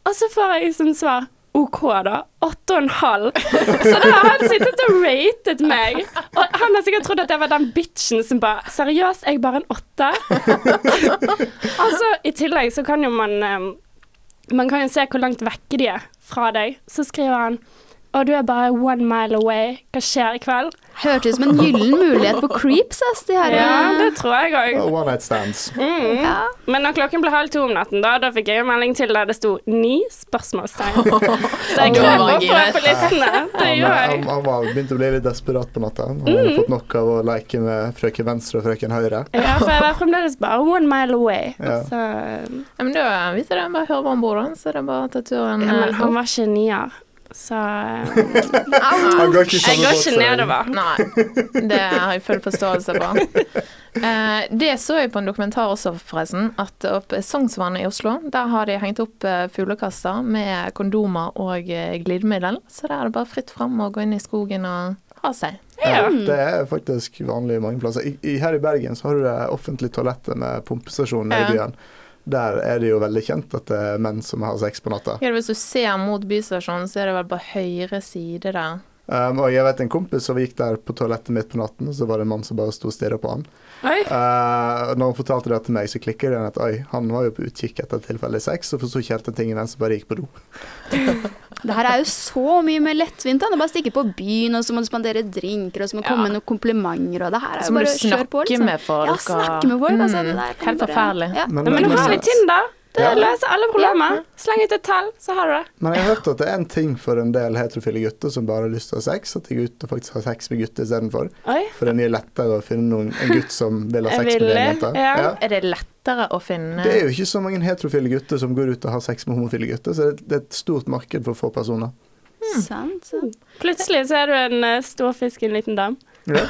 S2: Og så får jeg som svar OK, da. Åtte og en halv. Så da har han sittet og ratet meg. Og han har sikkert trodd at jeg var den bitchen som bare Seriøst, jeg er bare en åtte? altså, i tillegg så kan jo man eh, man kan jo se hvor langt vekke de er fra deg. Så skriver han og du er bare one mile away. Hva skjer i kveld?
S5: Hørtes ut som en gyllen mulighet for creeps, ass, de her.
S2: Ja, det tror jeg òg.
S3: One night stands.
S5: Ja.
S2: Men når klokken ble halv to om natten, da, da fikk jeg en melding til der det sto ni spørsmålstegn. Så jeg
S1: Da
S2: krøp
S1: var
S2: opp
S1: jeg
S2: på
S1: giret.
S2: på listene. Det
S3: Han,
S2: gjør
S3: han,
S2: jeg.
S3: han var begynt å bli litt desperat på natta. Han hadde fått nok av å leke med frøken venstre og frøken høyre.
S2: Ja, for jeg var fremdeles bare one mile away.
S3: Ja.
S2: Så,
S1: Ja, men da viser det bare å høre hvor han bor, da. Så det er bare å ta turen.
S2: ja, men
S1: eh,
S2: han
S1: opp.
S2: var ikke en nier. Så eh,
S3: Han går ikke i
S2: jeg
S3: samme
S2: går
S3: båt som jeg.
S2: ikke nedover.
S1: Nei, det har jeg full forståelse på. Eh, det så jeg på en dokumentar også, forresten. At oppe Sognsvannet i Oslo, der har de hengt opp eh, fuglekasser med kondomer og eh, glidemiddel. Så der er det bare fritt fram å gå inn i skogen og ha seg.
S2: Ja.
S3: Det er faktisk vanlig mange plasser. I, i, her i Bergen så har du det offentlige toalettet med pumpestasjon nede i
S1: Ja.
S3: byen. Der er det jo veldig kjent at det er menn som har sex på natta.
S1: Ja, hvis du ser mot Bystasjonen, så er det vel på høyre side der.
S3: Um, og jeg vet en kompis som gikk der på toalettet midt på natten, og så var det en mann som bare sto og stirra på han.
S2: Oi.
S3: Uh, når han fortalte det til meg, så klikket det igjen at oi, han var jo på utkikk etter tilfeldig sex, og forsto ikke helt den tingen, den som bare gikk på do.
S5: Det her er jo så mye mer lettvint enn å bare stikke på byen, og så må du spandere drinker, og så må du komme med noen komplimenter, og det her er
S1: Så
S5: jo
S1: må du
S5: bare å kjøre
S1: snakke
S5: på, liksom.
S1: med folk.
S5: Ja,
S1: og-
S5: snakke med folk, altså.
S1: Mm,
S5: Det der kan
S1: Helt
S5: du bare-
S1: forferdelig.
S5: Ja.
S2: Nei, men ha litt Tinder. Det
S3: Ja.
S2: løser alle problemer. Sleng ut et tall, så har du det.
S3: Men jeg har hørt at det er en ting for en del heterofile gutter som bare har lyst til å ha sex, at de gutter faktisk har sex med gutter istedenfor.
S2: Oi.
S3: For det er mye lettere å finne noen, en gutt som vil ha
S2: Jeg
S3: sex med
S2: ville,
S3: en jente.
S2: ja.
S1: Er det lettere å finne
S3: Det er jo ikke så mange heterofile gutter som går ut og har sex med homofile gutter, så det, det er et stort marked for få personer.
S5: Sant, sant.
S2: Plutselig så er du en eh, stor fisk i en liten dam.
S3: Ja.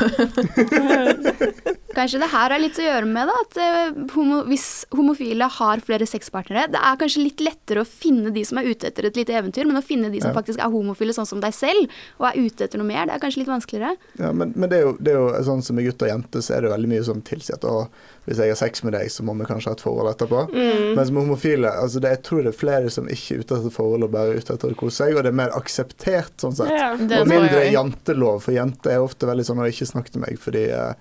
S5: Kanskje det her har litt å gjøre med da, at eh, homo, hvis homofile har flere sexpartnere, det er kanskje litt lettere å finne de som er ute etter et lite eventyr, men å finne de som
S3: Ja.
S5: faktisk er homofile sånn som deg selv, og er ute etter noe mer, det er kanskje litt vanskeligere.
S3: Ja, men men det, er jo, det er jo sånn som med gutter og jenter, så er det jo veldig mye som tilsier at å, hvis jeg har sex med deg, så må vi kanskje ha et forhold etterpå. Mens med homofile, altså det, jeg tror det er flere som ikke er ute etter forhold og bare er ute etter å kose seg, og det er mer akseptert sånn sett.
S2: Ja.
S1: Det
S3: og
S1: tror jeg
S3: mindre
S1: også.
S3: jantelov, for jenter er ofte veldig sånn 'Å, ikke snakk til meg', fordi eh,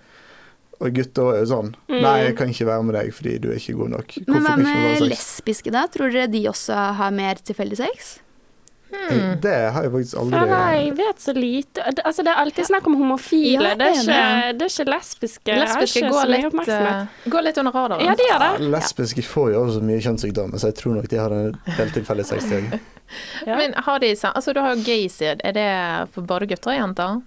S3: Og gutter er jo sånn 'Nei, jeg kan ikke være med deg fordi du er ikke god nok'.
S5: Men hva
S3: kan ikke vi bare ha
S5: med
S3: sex?
S5: lesbiske da? Tror dere de også har mer tilfeldig sex?
S3: Det har jeg faktisk aldri
S2: Faen, jeg vet så lite. Det- Altså, det er alltid snakk om homofile.
S5: Ja,
S2: det, er ikke,
S5: enig.
S2: det er ikke lesbiske. Jeg har
S1: Lesbiske
S2: ikke så
S1: går
S2: mye
S1: litt,
S2: oppmerksomhet.
S1: eh, går litt under radaren.
S2: Ja, de gjør
S3: Ja,
S2: det.
S3: lesbiske får jo også så mye kjønnssykdommer, så jeg tror nok de har en del tilfeldig sex til.
S2: Ja.
S1: Men har de, sa- altså du har jo gaysid, er det for både gutter og jenter?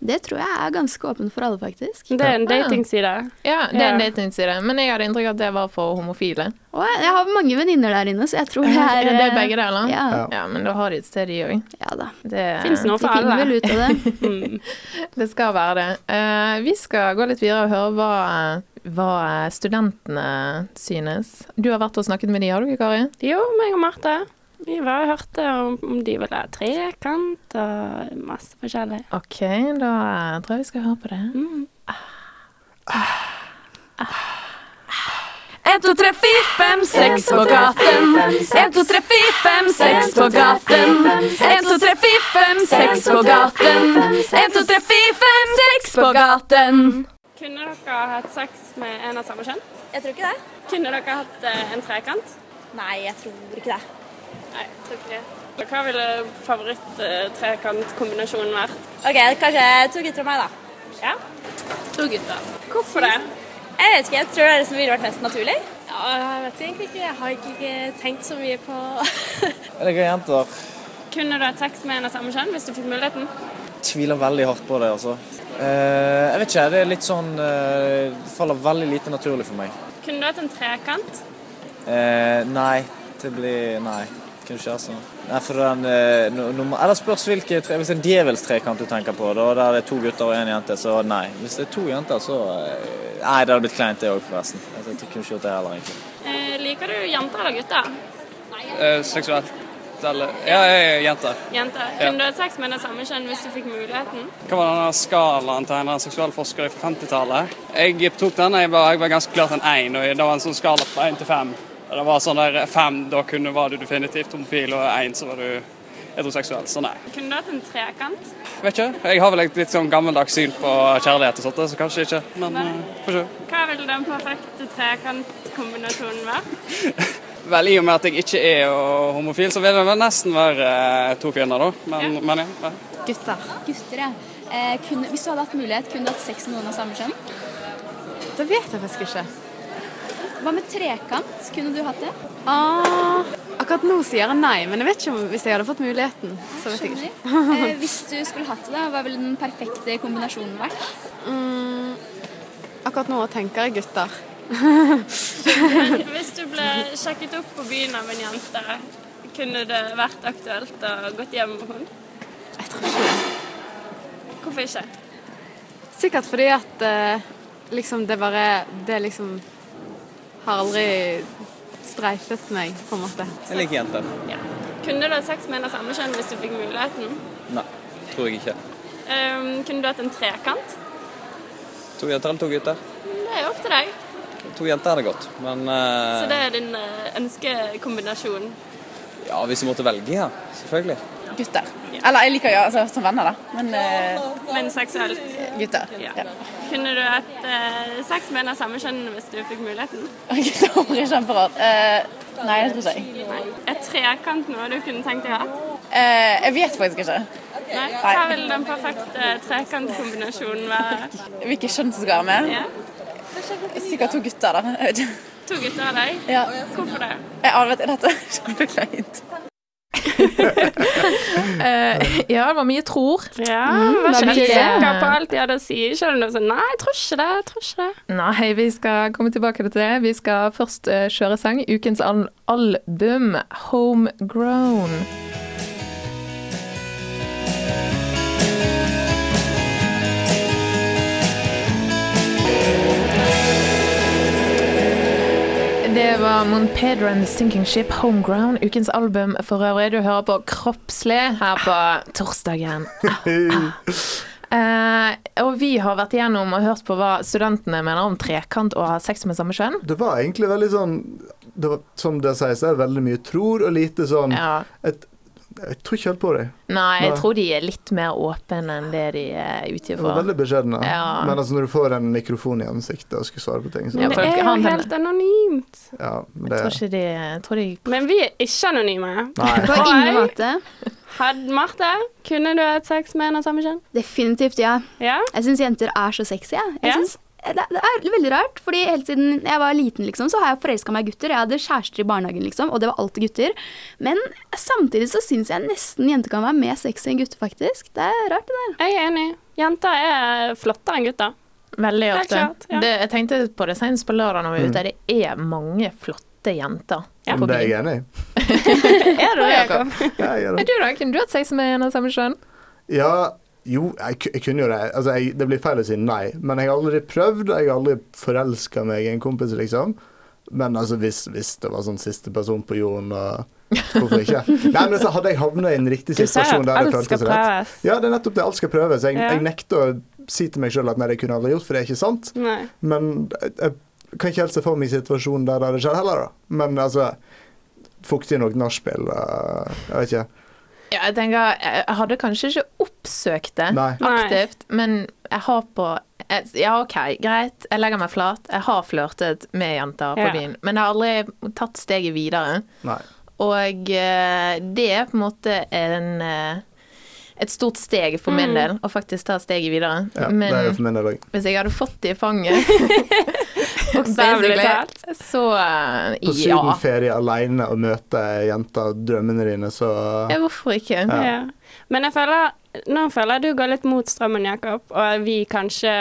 S5: Det tror jeg er ganske åpen for alle, faktisk.
S2: Det er en datingside.
S1: Ja, det er en
S2: Ja.
S1: datingside, men jeg hadde inntrykk av at det var for homofile.
S5: Og jeg, jeg har mange venninner der inne, så jeg tror det
S1: Er
S5: er
S1: det
S5: eh,
S1: begge deler?
S5: Ja,
S3: Ja.
S1: Ja, men da har de et sted, de òg.
S5: ja da.
S1: Det,
S2: Fins noe
S5: De
S2: for
S5: finner vel
S2: alle.
S5: ut av det.
S2: Hmm.
S1: det skal være det. Eh, vi skal gå litt videre og høre hva, hva studentene synes. Du har vært og snakket med de, har du ikke, Kari?
S2: Jo, meg og Marte. Vi var og hørte om, om de ville ha trekant og masse forskjellig.
S1: OK, da eh, tror jeg vi skal høre på det.
S6: En, to, tre, fire, fem, seks på gaten. En, to, tre, fire, fem, seks på gaten. En, to, tre, fire, fem, seks på gaten. En, to, tre, fire, fem, seks på gaten.
S2: Kunne dere hatt sex med en av samme kjønn?
S7: Jeg tror ikke det.
S2: Kunne dere hatt eh, en trekant?
S7: Nei, jeg tror ikke det.
S2: Nei, tror ikke det. Hva ville favoritt-trekantkombinasjonen vært?
S7: Ok, Kanskje to gutter og meg, da.
S2: Ja? To gutter. Hvorfor det?
S7: Jeg vet ikke, jeg tror det er det som ville vært mest naturlig.
S2: Ja, jeg vet egentlig ikke. Jeg har ikke tenkt så mye på
S8: Jeg liker jenter.
S2: Kunne du hatt sex med en av samme kjønn hvis du fikk muligheten?
S8: Tviler veldig hardt på det, altså. Eh, jeg vet ikke, det er litt sånn eh, Det faller veldig lite naturlig for meg.
S2: Kunne du hatt en trekant?
S8: Eh, nei, det blir Nei. Kunne ikke ha sånn. Nei, for den eh, no, no, Eller spørs hvilke tre, Hvis det er en djevelstrekant du tenker på, da, der det er to gutter og én jente, så nei. Hvis det er to jenter, så eh, Nei, det hadde blitt kleint, det òg, forresten. Jeg, jeg, kunne ikke gjort det heller, egentlig.
S2: Eh, liker du jenter eller gutter?
S9: Eh,
S8: seksuelt eller Ja, jenter.
S2: Jenter. Kunne du hatt sex med den samme kjønn hvis du fikk muligheten?
S9: Hva var denne skalaen til en eller annen seksualforsker fra 50-tallet? Jeg tok den, jeg var, jeg var ganske klart en 1, og det var en sånn skala fra 1 til 5. Og Det var sånn der 5, da kunne, var du definitivt homofil, og 1 så var du heteroseksuell. Så nei.
S2: Kunne du hatt en trekant?
S9: Vet ikke, jeg har vel et litt sånn gammeldags syn på kjærlighet og sånt, så kanskje ikke. Men eh, får se.
S2: Hva ville den perfekte trekantkombinasjonen vært?
S9: Vel, i og med at jeg ikke er eh, homofil, så vil det vel nesten være eh, to kvinner, da. Men, men ja. ja.
S7: Gutter, ja. eh, hvis du hadde hatt mulighet, kunne du hatt sex med noen av samme kjønn?
S6: Det vet jeg faktisk ikke.
S7: Hva med trekant? Kunne du hatt det?
S6: Ah, akkurat nå sier jeg nei, men jeg vet ikke om hvis jeg hadde fått muligheten. Så vet jeg ikke.
S7: Eh, hvis du skulle hatt det, hva ville den perfekte kombinasjonen vært?
S6: Mm, akkurat nå tenker jeg gutter.
S2: Hvis du ble sjekket opp på byen av en jente, Kunne det vært aktuelt å gått hjem med hund?
S6: Jeg tror ikke det.
S2: Hvorfor ikke?
S6: Sikkert fordi at eh, liksom det bare Det liksom har aldri streifet meg, på en måte.
S8: Jeg liker jenter.
S2: Ja. Kunne du hatt sex med en av samme kjønn hvis du fikk muligheten?
S8: Nei, tror jeg ikke.
S2: Ehm, kunne du hatt en trekant?
S8: To jenter eller to gutter?
S2: Det er jo opp til deg.
S8: To jenter er det godt, men
S2: Så
S8: eh,
S2: det er din eh, ønskekombinasjon.
S8: Ja, hvis jeg måtte velge, ja. Selvfølgelig.
S10: Gutter. Eller jeg liker jo altså, som venner, da. Men eh,
S2: Men seksuelt.
S10: gutter.
S2: Ja.
S10: Ja.
S2: Kunne du hatt eh, sex med en av samme kjønn hvis du fikk muligheten?
S10: Gutter blir kjemperart. Eh, nei, det tror ikke jeg.
S2: Nei. Er trekant noe du kunne tenkt deg å ha?
S10: Eh, jeg vet faktisk ikke
S2: Nei. Hva vil den perfekte trekantkombinasjonen være?
S10: hvilket kjønn som skal være med.
S2: Ja.
S10: Sikkert to gutter, da. Jeg vet ikke.
S2: To gutter av deg?
S10: Ja.
S2: Hvorfor det?
S10: Jeg aner at dette er kjempekleint.
S1: Ja, det var mye tror.
S2: Ja, var ikke helt
S1: Mm, det-
S2: sikker på alt de hadde å si. Selv om du sa nei, jeg tror ikke det. jeg tror ikke det.
S1: Nei, vi skal komme tilbake til det. Vi skal først eh, kjøre sang. Ukens al album, 'Homegrown'. Det var Mon Pedro and The Sinking Ship, 'Homegrown'. Ukens album for øvrig. Du hører på Kroppslig her på torsdagen. Eh, og vi har vært igjennom og hørt på hva studentene mener om trekant og å ha sex med samme kjønn.
S3: Det var egentlig veldig sånn det var, Som det sies, det er veldig mye tror og lite sånn
S1: Ja.
S3: et, Jeg tror ikke helt på deg.
S1: Nei, jeg
S3: Nei.
S1: tror de er litt mer åpne enn det de er ute
S3: Det var
S1: for.
S3: veldig beskjedne.
S1: Ja.
S3: Men altså, når du får en mikrofon i ansiktet og skal svare på ting, så
S1: Ja,
S2: Men
S1: folk
S2: det er jo
S1: har den-
S2: helt anonymt.
S3: ja, men
S1: Jeg tror
S3: det,
S1: ikke de, jeg tror de
S2: Men vi er ikke anonyme.
S3: Nei.
S5: På
S2: Oi.
S5: ingen måte.
S2: Hadde Marte, kunne du hatt sex med en av samme kjønn?
S5: Definitivt, ja.
S2: Ja.
S5: Jeg syns jenter er så sexy. Jeg. Jeg
S2: Ja.
S5: synes- eh, det, det er veldig rart, fordi helt siden jeg var liten, liksom, så har jeg forelska meg i gutter. Jeg hadde kjærester i barnehagen, liksom, og det var alltid gutter. Men samtidig så syns jeg nesten jenter kan være mer sexy enn gutter, faktisk. Det er rart, det der.
S2: Jeg er enig. Jenter er flottere enn gutter.
S1: Veldig
S2: Helt
S1: ofte.
S2: klart, ja.
S1: det, jeg tenkte på det senest på lørdag når vi var ute. Det er mange flotte jenter.
S3: men Mm. det er jeg enig i.
S1: Er du det, Jakob?
S3: Ja, jeg gjør
S1: Men
S3: det.
S1: du da, kunne du hatt sex med en av samme kjønn?
S3: ja, jo, jeg, ku- jeg kunne jo det. Altså, jeg, det blir feil å si nei, men jeg har aldri prøvd. Jeg har aldri forelska meg i en kompis, liksom. Men altså, hvis, hvis det var sånn siste person på jorden og Hvorfor ikke? Nei, men altså, Hadde jeg havna i en riktig
S2: Du sier
S3: situasjon
S2: at
S3: der det
S2: alt skal
S3: føltes rett
S2: prøves.
S3: Ja, det er nettopp det. Alt skal prøves. Jeg,
S2: Ja.
S3: jeg nekter å si til meg sjøl at nei, det kunne jeg aldri gjort, for det er ikke sant.
S2: Nei.
S3: Men jeg, jeg kan ikke helt se for meg situasjonen der det hadde skjedd heller, da. Men altså Fuktig nok nachspiel, øh, jeg vet ikke.
S1: Ja, jeg tenker, jeg hadde kanskje ikke oppsøkt det
S3: Nei.
S1: aktivt, men jeg har på jeg, Ja, OK, greit, jeg legger meg flat. Jeg har flørtet med jenter på
S2: Ja.
S1: byen, men jeg har aldri tatt steget videre.
S3: Nei.
S1: Og eh, det er på en måte en eh, et stort steg for
S2: Mm.
S1: min del å faktisk ta steget videre.
S3: Ja,
S1: Men
S3: det er jo for min del òg.
S1: hvis jeg hadde fått det i fanget,
S2: Bokstavelig
S1: basically,
S2: talt.
S1: så eh,
S3: På
S1: ja.
S3: sydenferie alene og møte jenter, drømmene dine, så eh,
S1: ja. Hvorfor ikke?
S2: Ja. Men jeg føler, nå føler jeg du går litt mot strømmen, Jakob, og vi kanskje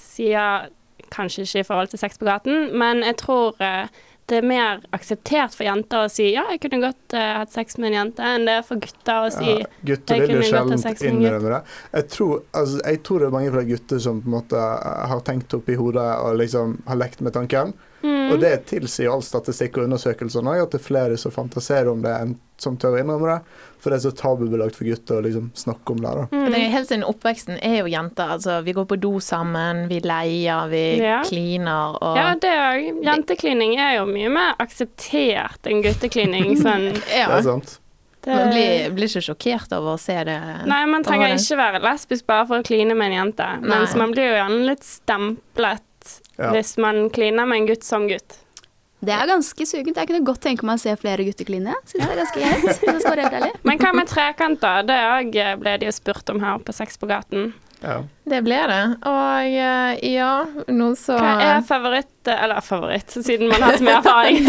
S2: sier Kanskje ikke i forhold til sex på gaten, men jeg tror eh, det er mer akseptert for jenter å si ja, jeg kunne godt eh, hatt sex med en jente, enn det er for gutter å si
S3: ja, Gutter
S2: Jeg
S3: vil jo
S2: kunne godt ha
S3: sjelden
S2: sex med en
S3: innrømme det. Jeg tror, altså, jeg tror det er mange fra gutter som på en måte eh, har tenkt opp i hodet og liksom har lekt med tanken.
S2: Mm.
S3: Og det tilsier jo all statistikk og undersøkelser nå, at det er flere som fantaserer om det enn som tør å innrømme det. For det er så tabubelagt for gutter å liksom snakke om det.
S2: Mm.
S3: da.
S1: Jeg tenker Helt siden oppveksten er jo jenter. Altså, vi går på do sammen, vi leier, vi
S2: Ja.
S1: kliner og
S2: Ja, det òg. Jenteklining er jo mye mer akseptert enn gutteklining. Sånn,
S1: Ja.
S3: Det er sant.
S1: Man blir, blir ikke sjokkert over å se det.
S2: Nei, man trenger
S1: over det.
S2: ikke være lesbisk bare for å kline med en jente. Mens man blir jo gjerne litt stemplet
S3: Ja.
S2: hvis man kliner med en gutt som gutt.
S5: Det er ganske sugent. Jeg kunne godt tenke meg å se flere guttekline. Jeg Synes det er ganske greit. hvis jeg skal være helt ærlig.
S2: Men hva med trekant, da? Det òg ble de jo spurt om her på Sex på gaten.
S3: Ja.
S1: Det ble det. Og eh, ja, noen som
S2: Hva er favoritt eh, Eller favoritt, siden man har så mye erfaring.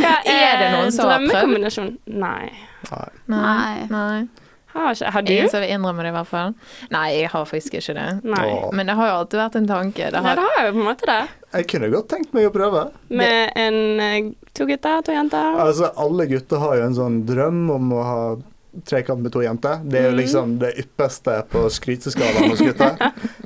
S2: Hva
S1: Er det noen som har prøvd?
S2: drømmekombinasjon? Nei.
S1: Nei.
S5: Nei.
S1: Nei.
S2: Har, ikke, har
S1: Ingen
S2: du?
S1: som vil innrømme det, i hvert fall. Nei, jeg har faktisk ikke det.
S2: Nei.
S3: Åh.
S1: Men det har jo alltid vært en tanke. Det
S2: Nei,
S1: har...
S2: det har jeg jo på en måte det.
S3: Jeg kunne godt tenkt meg å prøve.
S2: Med en eh, to gutter, to jenter.
S3: Altså, alle gutter har jo en sånn drøm om å ha trekant med to jenter. Det er jo liksom det ypperste på skryteskalaen hos gutter.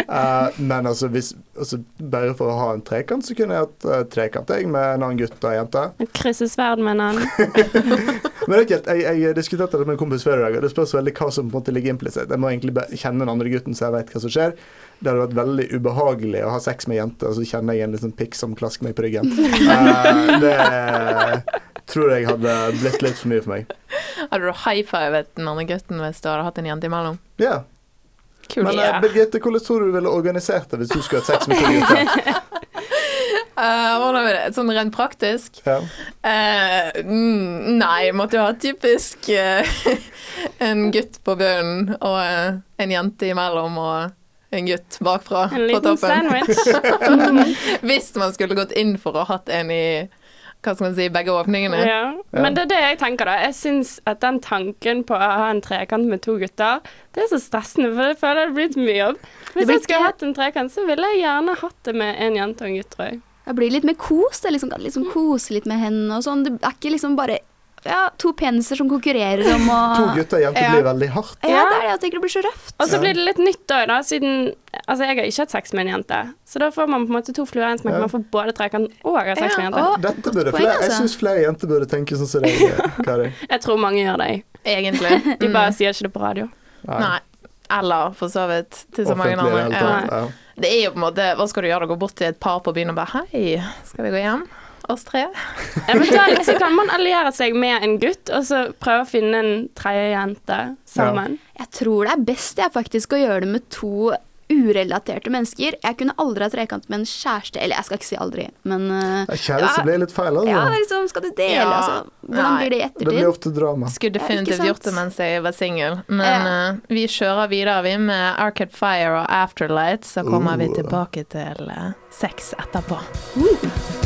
S3: Eh, men altså, hvis, altså, bare for å ha en trekant, så kunne jeg hatt eh, trekant jeg, med en annen gutt og en jente.
S2: Krysse sverd med en annen.
S3: Men det er ikke helt, jeg, jeg diskuterte det med en kompis før i dag, og det spørs veldig hva som på en måte ligger implisitt. Jeg må egentlig bare kjenne den andre gutten, så jeg vet hva som skjer. Det hadde vært veldig ubehagelig å ha sex med jenter, og så kjenner jeg en liten pikk som klasker meg på ryggen. Eh, det tror jeg hadde blitt litt for mye for meg.
S1: Hadde du high-fivet den andre gutten hvis du hadde hatt en jente imellom?
S3: Ja. Men eh, Birgitte, hvordan tror du du ville organisert det hvis du skulle hatt sex med to gutter?
S1: Eh, hvordan er det? Sånn rent praktisk?
S3: Ja.
S1: Eh, mm, nei, måtte jo ha typisk eh, en gutt på bunnen og eh, en jente imellom og en gutt bakfra
S2: En
S1: på
S2: liten
S1: toppen.
S2: sandwich.
S1: Hvis man skulle gått inn for å hatt en i hva skal man si, begge åpningene.
S2: Ja. Men det er det jeg tenker, da. Jeg syns at den tanken på å ha en trekant med to gutter, det er så stressende, for jeg føler det blir så mye jobb. Hvis
S5: blir
S2: jeg skulle
S5: ikke-
S2: hatt en trekant, så ville jeg gjerne hatt det med en jente og en gutt, tror jeg.
S5: Det blir litt mer kos. Det er liksom, kan liksom kose litt med hendene og sånn. Det er ikke liksom bare ja, to peniser som konkurrerer om å
S3: To gutter og jenter blir veldig hardt.
S5: Ja, det er det jeg tenker det blir så røft.
S2: Og så blir det litt nytt òg, da, siden Altså, jeg har ikke hatt sex med en jente, så da får man på en måte to fluer i en smekk.
S3: Ja.
S2: Man får både trekant og har sex med en jente.
S5: Å,
S3: Dette burde
S5: poeng,
S3: flere, jeg
S5: altså.
S3: syns flere jenter burde tenke sånn som deg, Kari.
S2: Jeg tror mange gjør det. jeg.
S1: Egentlig.
S2: De bare sier ikke det på radio.
S1: Nei. Eller for så vidt til så mange
S3: Offentlig i det
S1: andre.
S3: hele
S1: Ja.
S3: tatt. Ja.
S1: Det er jo på en måte Hva skal du gjøre? Gå bort til et par på byen og bare Hei, skal vi gå hjem? Oss tre?
S2: Eventuelt så kan man alliere seg med en gutt, og så prøve å finne en tredje jente sammen.
S5: Jeg tror det er best jeg faktisk å gjøre det med to urelaterte mennesker. Jeg kunne aldri ha trekant med en kjæreste. Eller jeg skal ikke si aldri, men eh,
S3: Ja, Kjæreste blir litt feil,
S5: ja,
S3: altså.
S5: liksom, skal du dele,
S1: Ja.
S5: altså? Hvordan
S1: Nei.
S5: blir det i
S3: Det blir
S5: ettertid?
S3: ofte drama.
S1: Skulle
S5: Ja,
S1: definitivt
S5: ikke sant?
S1: gjort det mens jeg var singel, men
S5: Ja.
S1: eh, vi kjører videre vi med Arcade Fire og Afterlight, så kommer vi
S3: Oh.
S1: tilbake til eh, sex etterpå.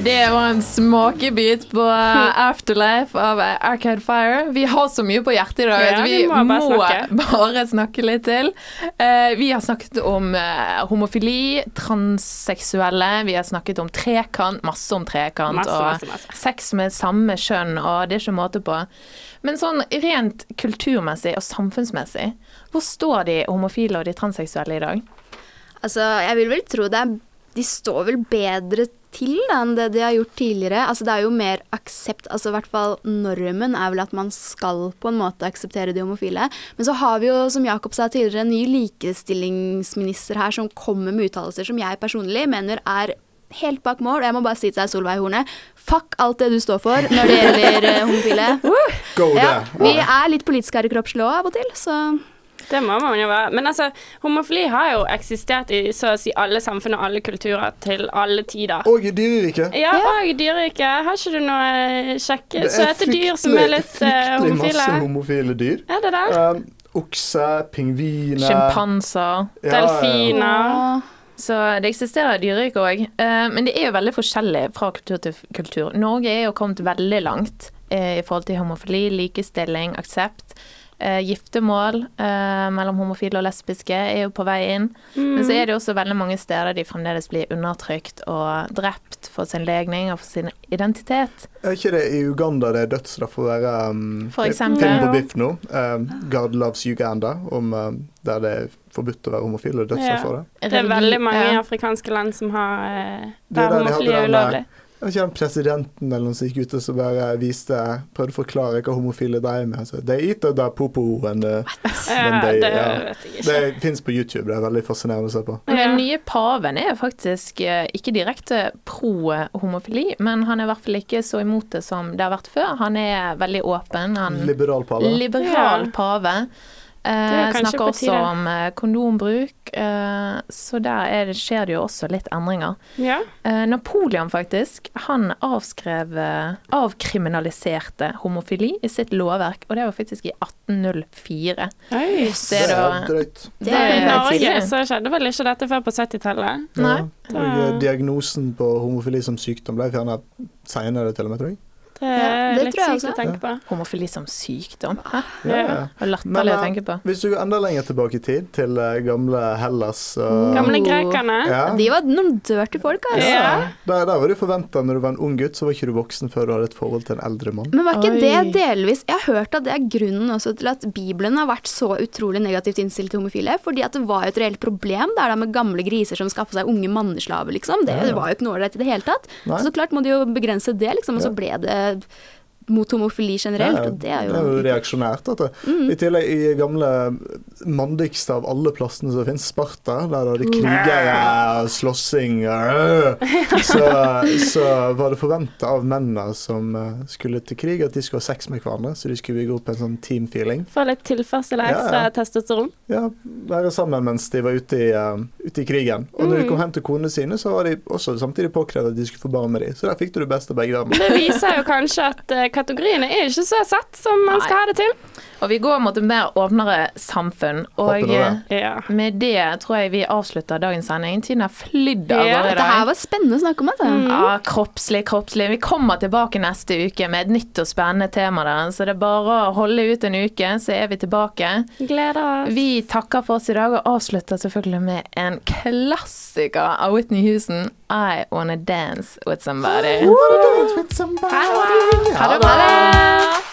S1: Det var en smakebit på eh, Afterlife av eh, Arcade Fire. Vi har så mye på hjertet i dag
S2: Ja,
S1: at vi,
S2: vi må bare
S1: må
S2: snakke.
S1: bare snakke litt til. Eh, vi har snakket om eh, homofili, transseksuelle, vi har snakket om trekant, masse om trekant,
S2: Masse,
S1: og
S2: masse, masse.
S1: sex med samme kjønn, og det er ikke måte på. Men sånn rent kulturmessig og samfunnsmessig, hvor står de homofile og de transseksuelle i dag?
S5: Altså, jeg vil vel tro det er De står vel bedre til da, enn det de har gjort tidligere. Altså, det er jo mer aksept Altså, i hvert fall normen er vel at man skal på en måte akseptere de homofile. Men så har vi jo, som Jakob sa tidligere, en ny likestillingsminister her som kommer med uttalelser som jeg personlig mener er helt bak mål. Og jeg må bare si til deg, Solveig Horne, fuck alt det du står for når det gjelder eh, homofile.
S3: Go
S5: Ja,
S3: there.
S5: vi er litt politiske her i kroppslig også av og til, så
S2: Det må man jo være. Men altså, homofili har jo eksistert i så å si alle samfunn og alle kulturer til alle tider.
S3: Og i dyreriket.
S2: Ja, og i dyreriket. Har ikke du noe eh, kjekke, søte dyr som er litt eh,
S3: fryktelig
S2: homofile?
S3: masse homofile dyr.
S2: Er det det?
S3: Um, okse, pingviner
S1: Sjimpanser.
S3: ja, ja, ja.
S2: Delfiner.
S1: Så det eksisterer dyrerike òg. Men det er jo veldig forskjellig fra kultur til f- kultur. Norge er jo kommet veldig langt eh, i forhold til homofili, likestilling, aksept. Eh, Giftermål eh, mellom homofile og lesbiske er jo på vei inn. Men
S2: Mm.
S1: så er det jo også veldig mange steder de fremdeles blir undertrykt og drept for sin legning og for sin identitet.
S3: Er ikke det i Uganda det er dødsstraff for å være um,
S1: For
S3: det er
S1: eksempel.
S3: Film på biff nå. Um, God loves Uganda, om, um, der det er forbudt å være homofil og dødsstraff
S2: Ja.
S3: for det.
S2: Det er veldig mange
S1: Ja.
S2: afrikanske land som har eh,
S3: Det er
S2: der
S3: der de
S2: homofili
S3: hadde
S2: er
S3: den, uh,
S2: ulovlig.
S3: Jeg vet ikke om presidenten eller noen som gikk ut og så bare viste, prøvde å forklare hva homofile dreier med. Så, they eat da popo and uh,
S2: Ja,
S3: de-
S2: det
S3: ja.
S2: vet jeg ikke.
S3: Det fins på YouTube, det er veldig fascinerende å se på.
S1: Men
S2: Ja.
S1: Den nye paven er faktisk eh, ikke direkte pro-homofili, men han er i hvert fall ikke så imot det som det har vært før. Han er veldig åpen. Han
S3: Liberal pave.
S1: liberal
S2: Ja.
S1: pave. Eh,
S2: Det er kanskje
S1: snakker
S2: på
S1: også
S2: tide.
S1: om eh, kondombruk, eh, så der er det, skjer det jo også litt endringer.
S2: Ja.
S1: Eh, Napoleon faktisk, han avskrev, eh, avkriminaliserte homofili i sitt lovverk, og det var faktisk i 1804.
S2: Oi.
S1: Det er da-
S3: drøyt.
S1: Det
S2: I
S1: er
S2: Norge
S1: tidlig.
S2: så skjedde vel ikke dette før på 70-tallet.
S1: Nei.
S3: Og eh, diagnosen på homofili som sykdom ble fjernet senere, til og med, tror jeg.
S2: Det er
S5: Ja, det
S2: litt
S5: tror jeg
S2: sykt å
S5: også.
S2: tenke på.
S1: Homofili som sykdom. Hæ?
S3: Ja,
S2: Ja.
S3: ja.
S1: Og latterlig
S3: Men,
S1: å
S3: eh,
S1: tenke på.
S3: Hvis du går enda lenger tilbake i tid, til eh, gamle Hellas og
S2: Gamle grekerne.
S3: ja.
S5: De var noen dirty folk, altså.
S2: Ja.
S3: Der, der var det jo forventa når du var en ung gutt, så var ikke du voksen før du hadde et forhold til en eldre mann.
S5: Men var
S1: Oi.
S5: ikke det delvis Jeg har hørt at det er grunnen også til at Bibelen har vært så utrolig negativt innstilt til homofile. Fordi at det var jo et reelt problem der da med gamle griser som skaffa seg unge manneslaver, liksom. Det
S3: Ja, ja.
S5: var jo ikke noe ålreit i det hele tatt.
S3: Nei.
S5: Så klart må de jo begrense det, liksom. Og så
S3: Ja.
S5: ble det mot homofili generelt.
S3: Ja,
S5: Og det er jo Mm.
S3: reaksjonært. At det. I tillegg i gamle eh, mandigste av alle plassene som finnes, Sparta, der det var krigere og slåssing og øh, så, så var det forventa av mennene som eh, skulle til krig, at de skulle ha sex med hverandre. Så de skulle bygge opp en sånn team-feeling.
S2: Få litt tilførsel av
S3: Ja,
S2: ekstra
S3: ja.
S2: testosteron.
S3: Ja, Være sammen mens de var ute i, eh, ute i krigen. Og når de kom hen til konene sine, så var de også samtidig påkrevd at de skulle få barn med dem. Så der fikk du det beste av begge verdener.
S2: Det viser jo kanskje at eh, kategoriene er ikke så satt som man skal ha det til.
S1: Og vi går mot et mer åpnere samfunn,
S3: Håper
S1: og
S3: nå det.
S1: eh,
S2: Ja.
S1: med det tror jeg vi avslutter dagens sending. Tiden har flydd av
S2: Ja,
S1: gårde i
S5: Dette her
S1: dag.
S5: var spennende å snakke om, altså.
S1: Ja, kroppslig, kroppslig. Vi kommer tilbake neste uke med et nytt og spennende tema. Der. Så det er bare å holde ut en uke, så er vi tilbake.
S2: Gleder oss.
S1: Vi takker for oss i dag og avslutter selvfølgelig med en klassiker av Whitney Houston, I Wanna Dance With Somebody.
S3: What a dance with somebody.
S1: Ha det bra!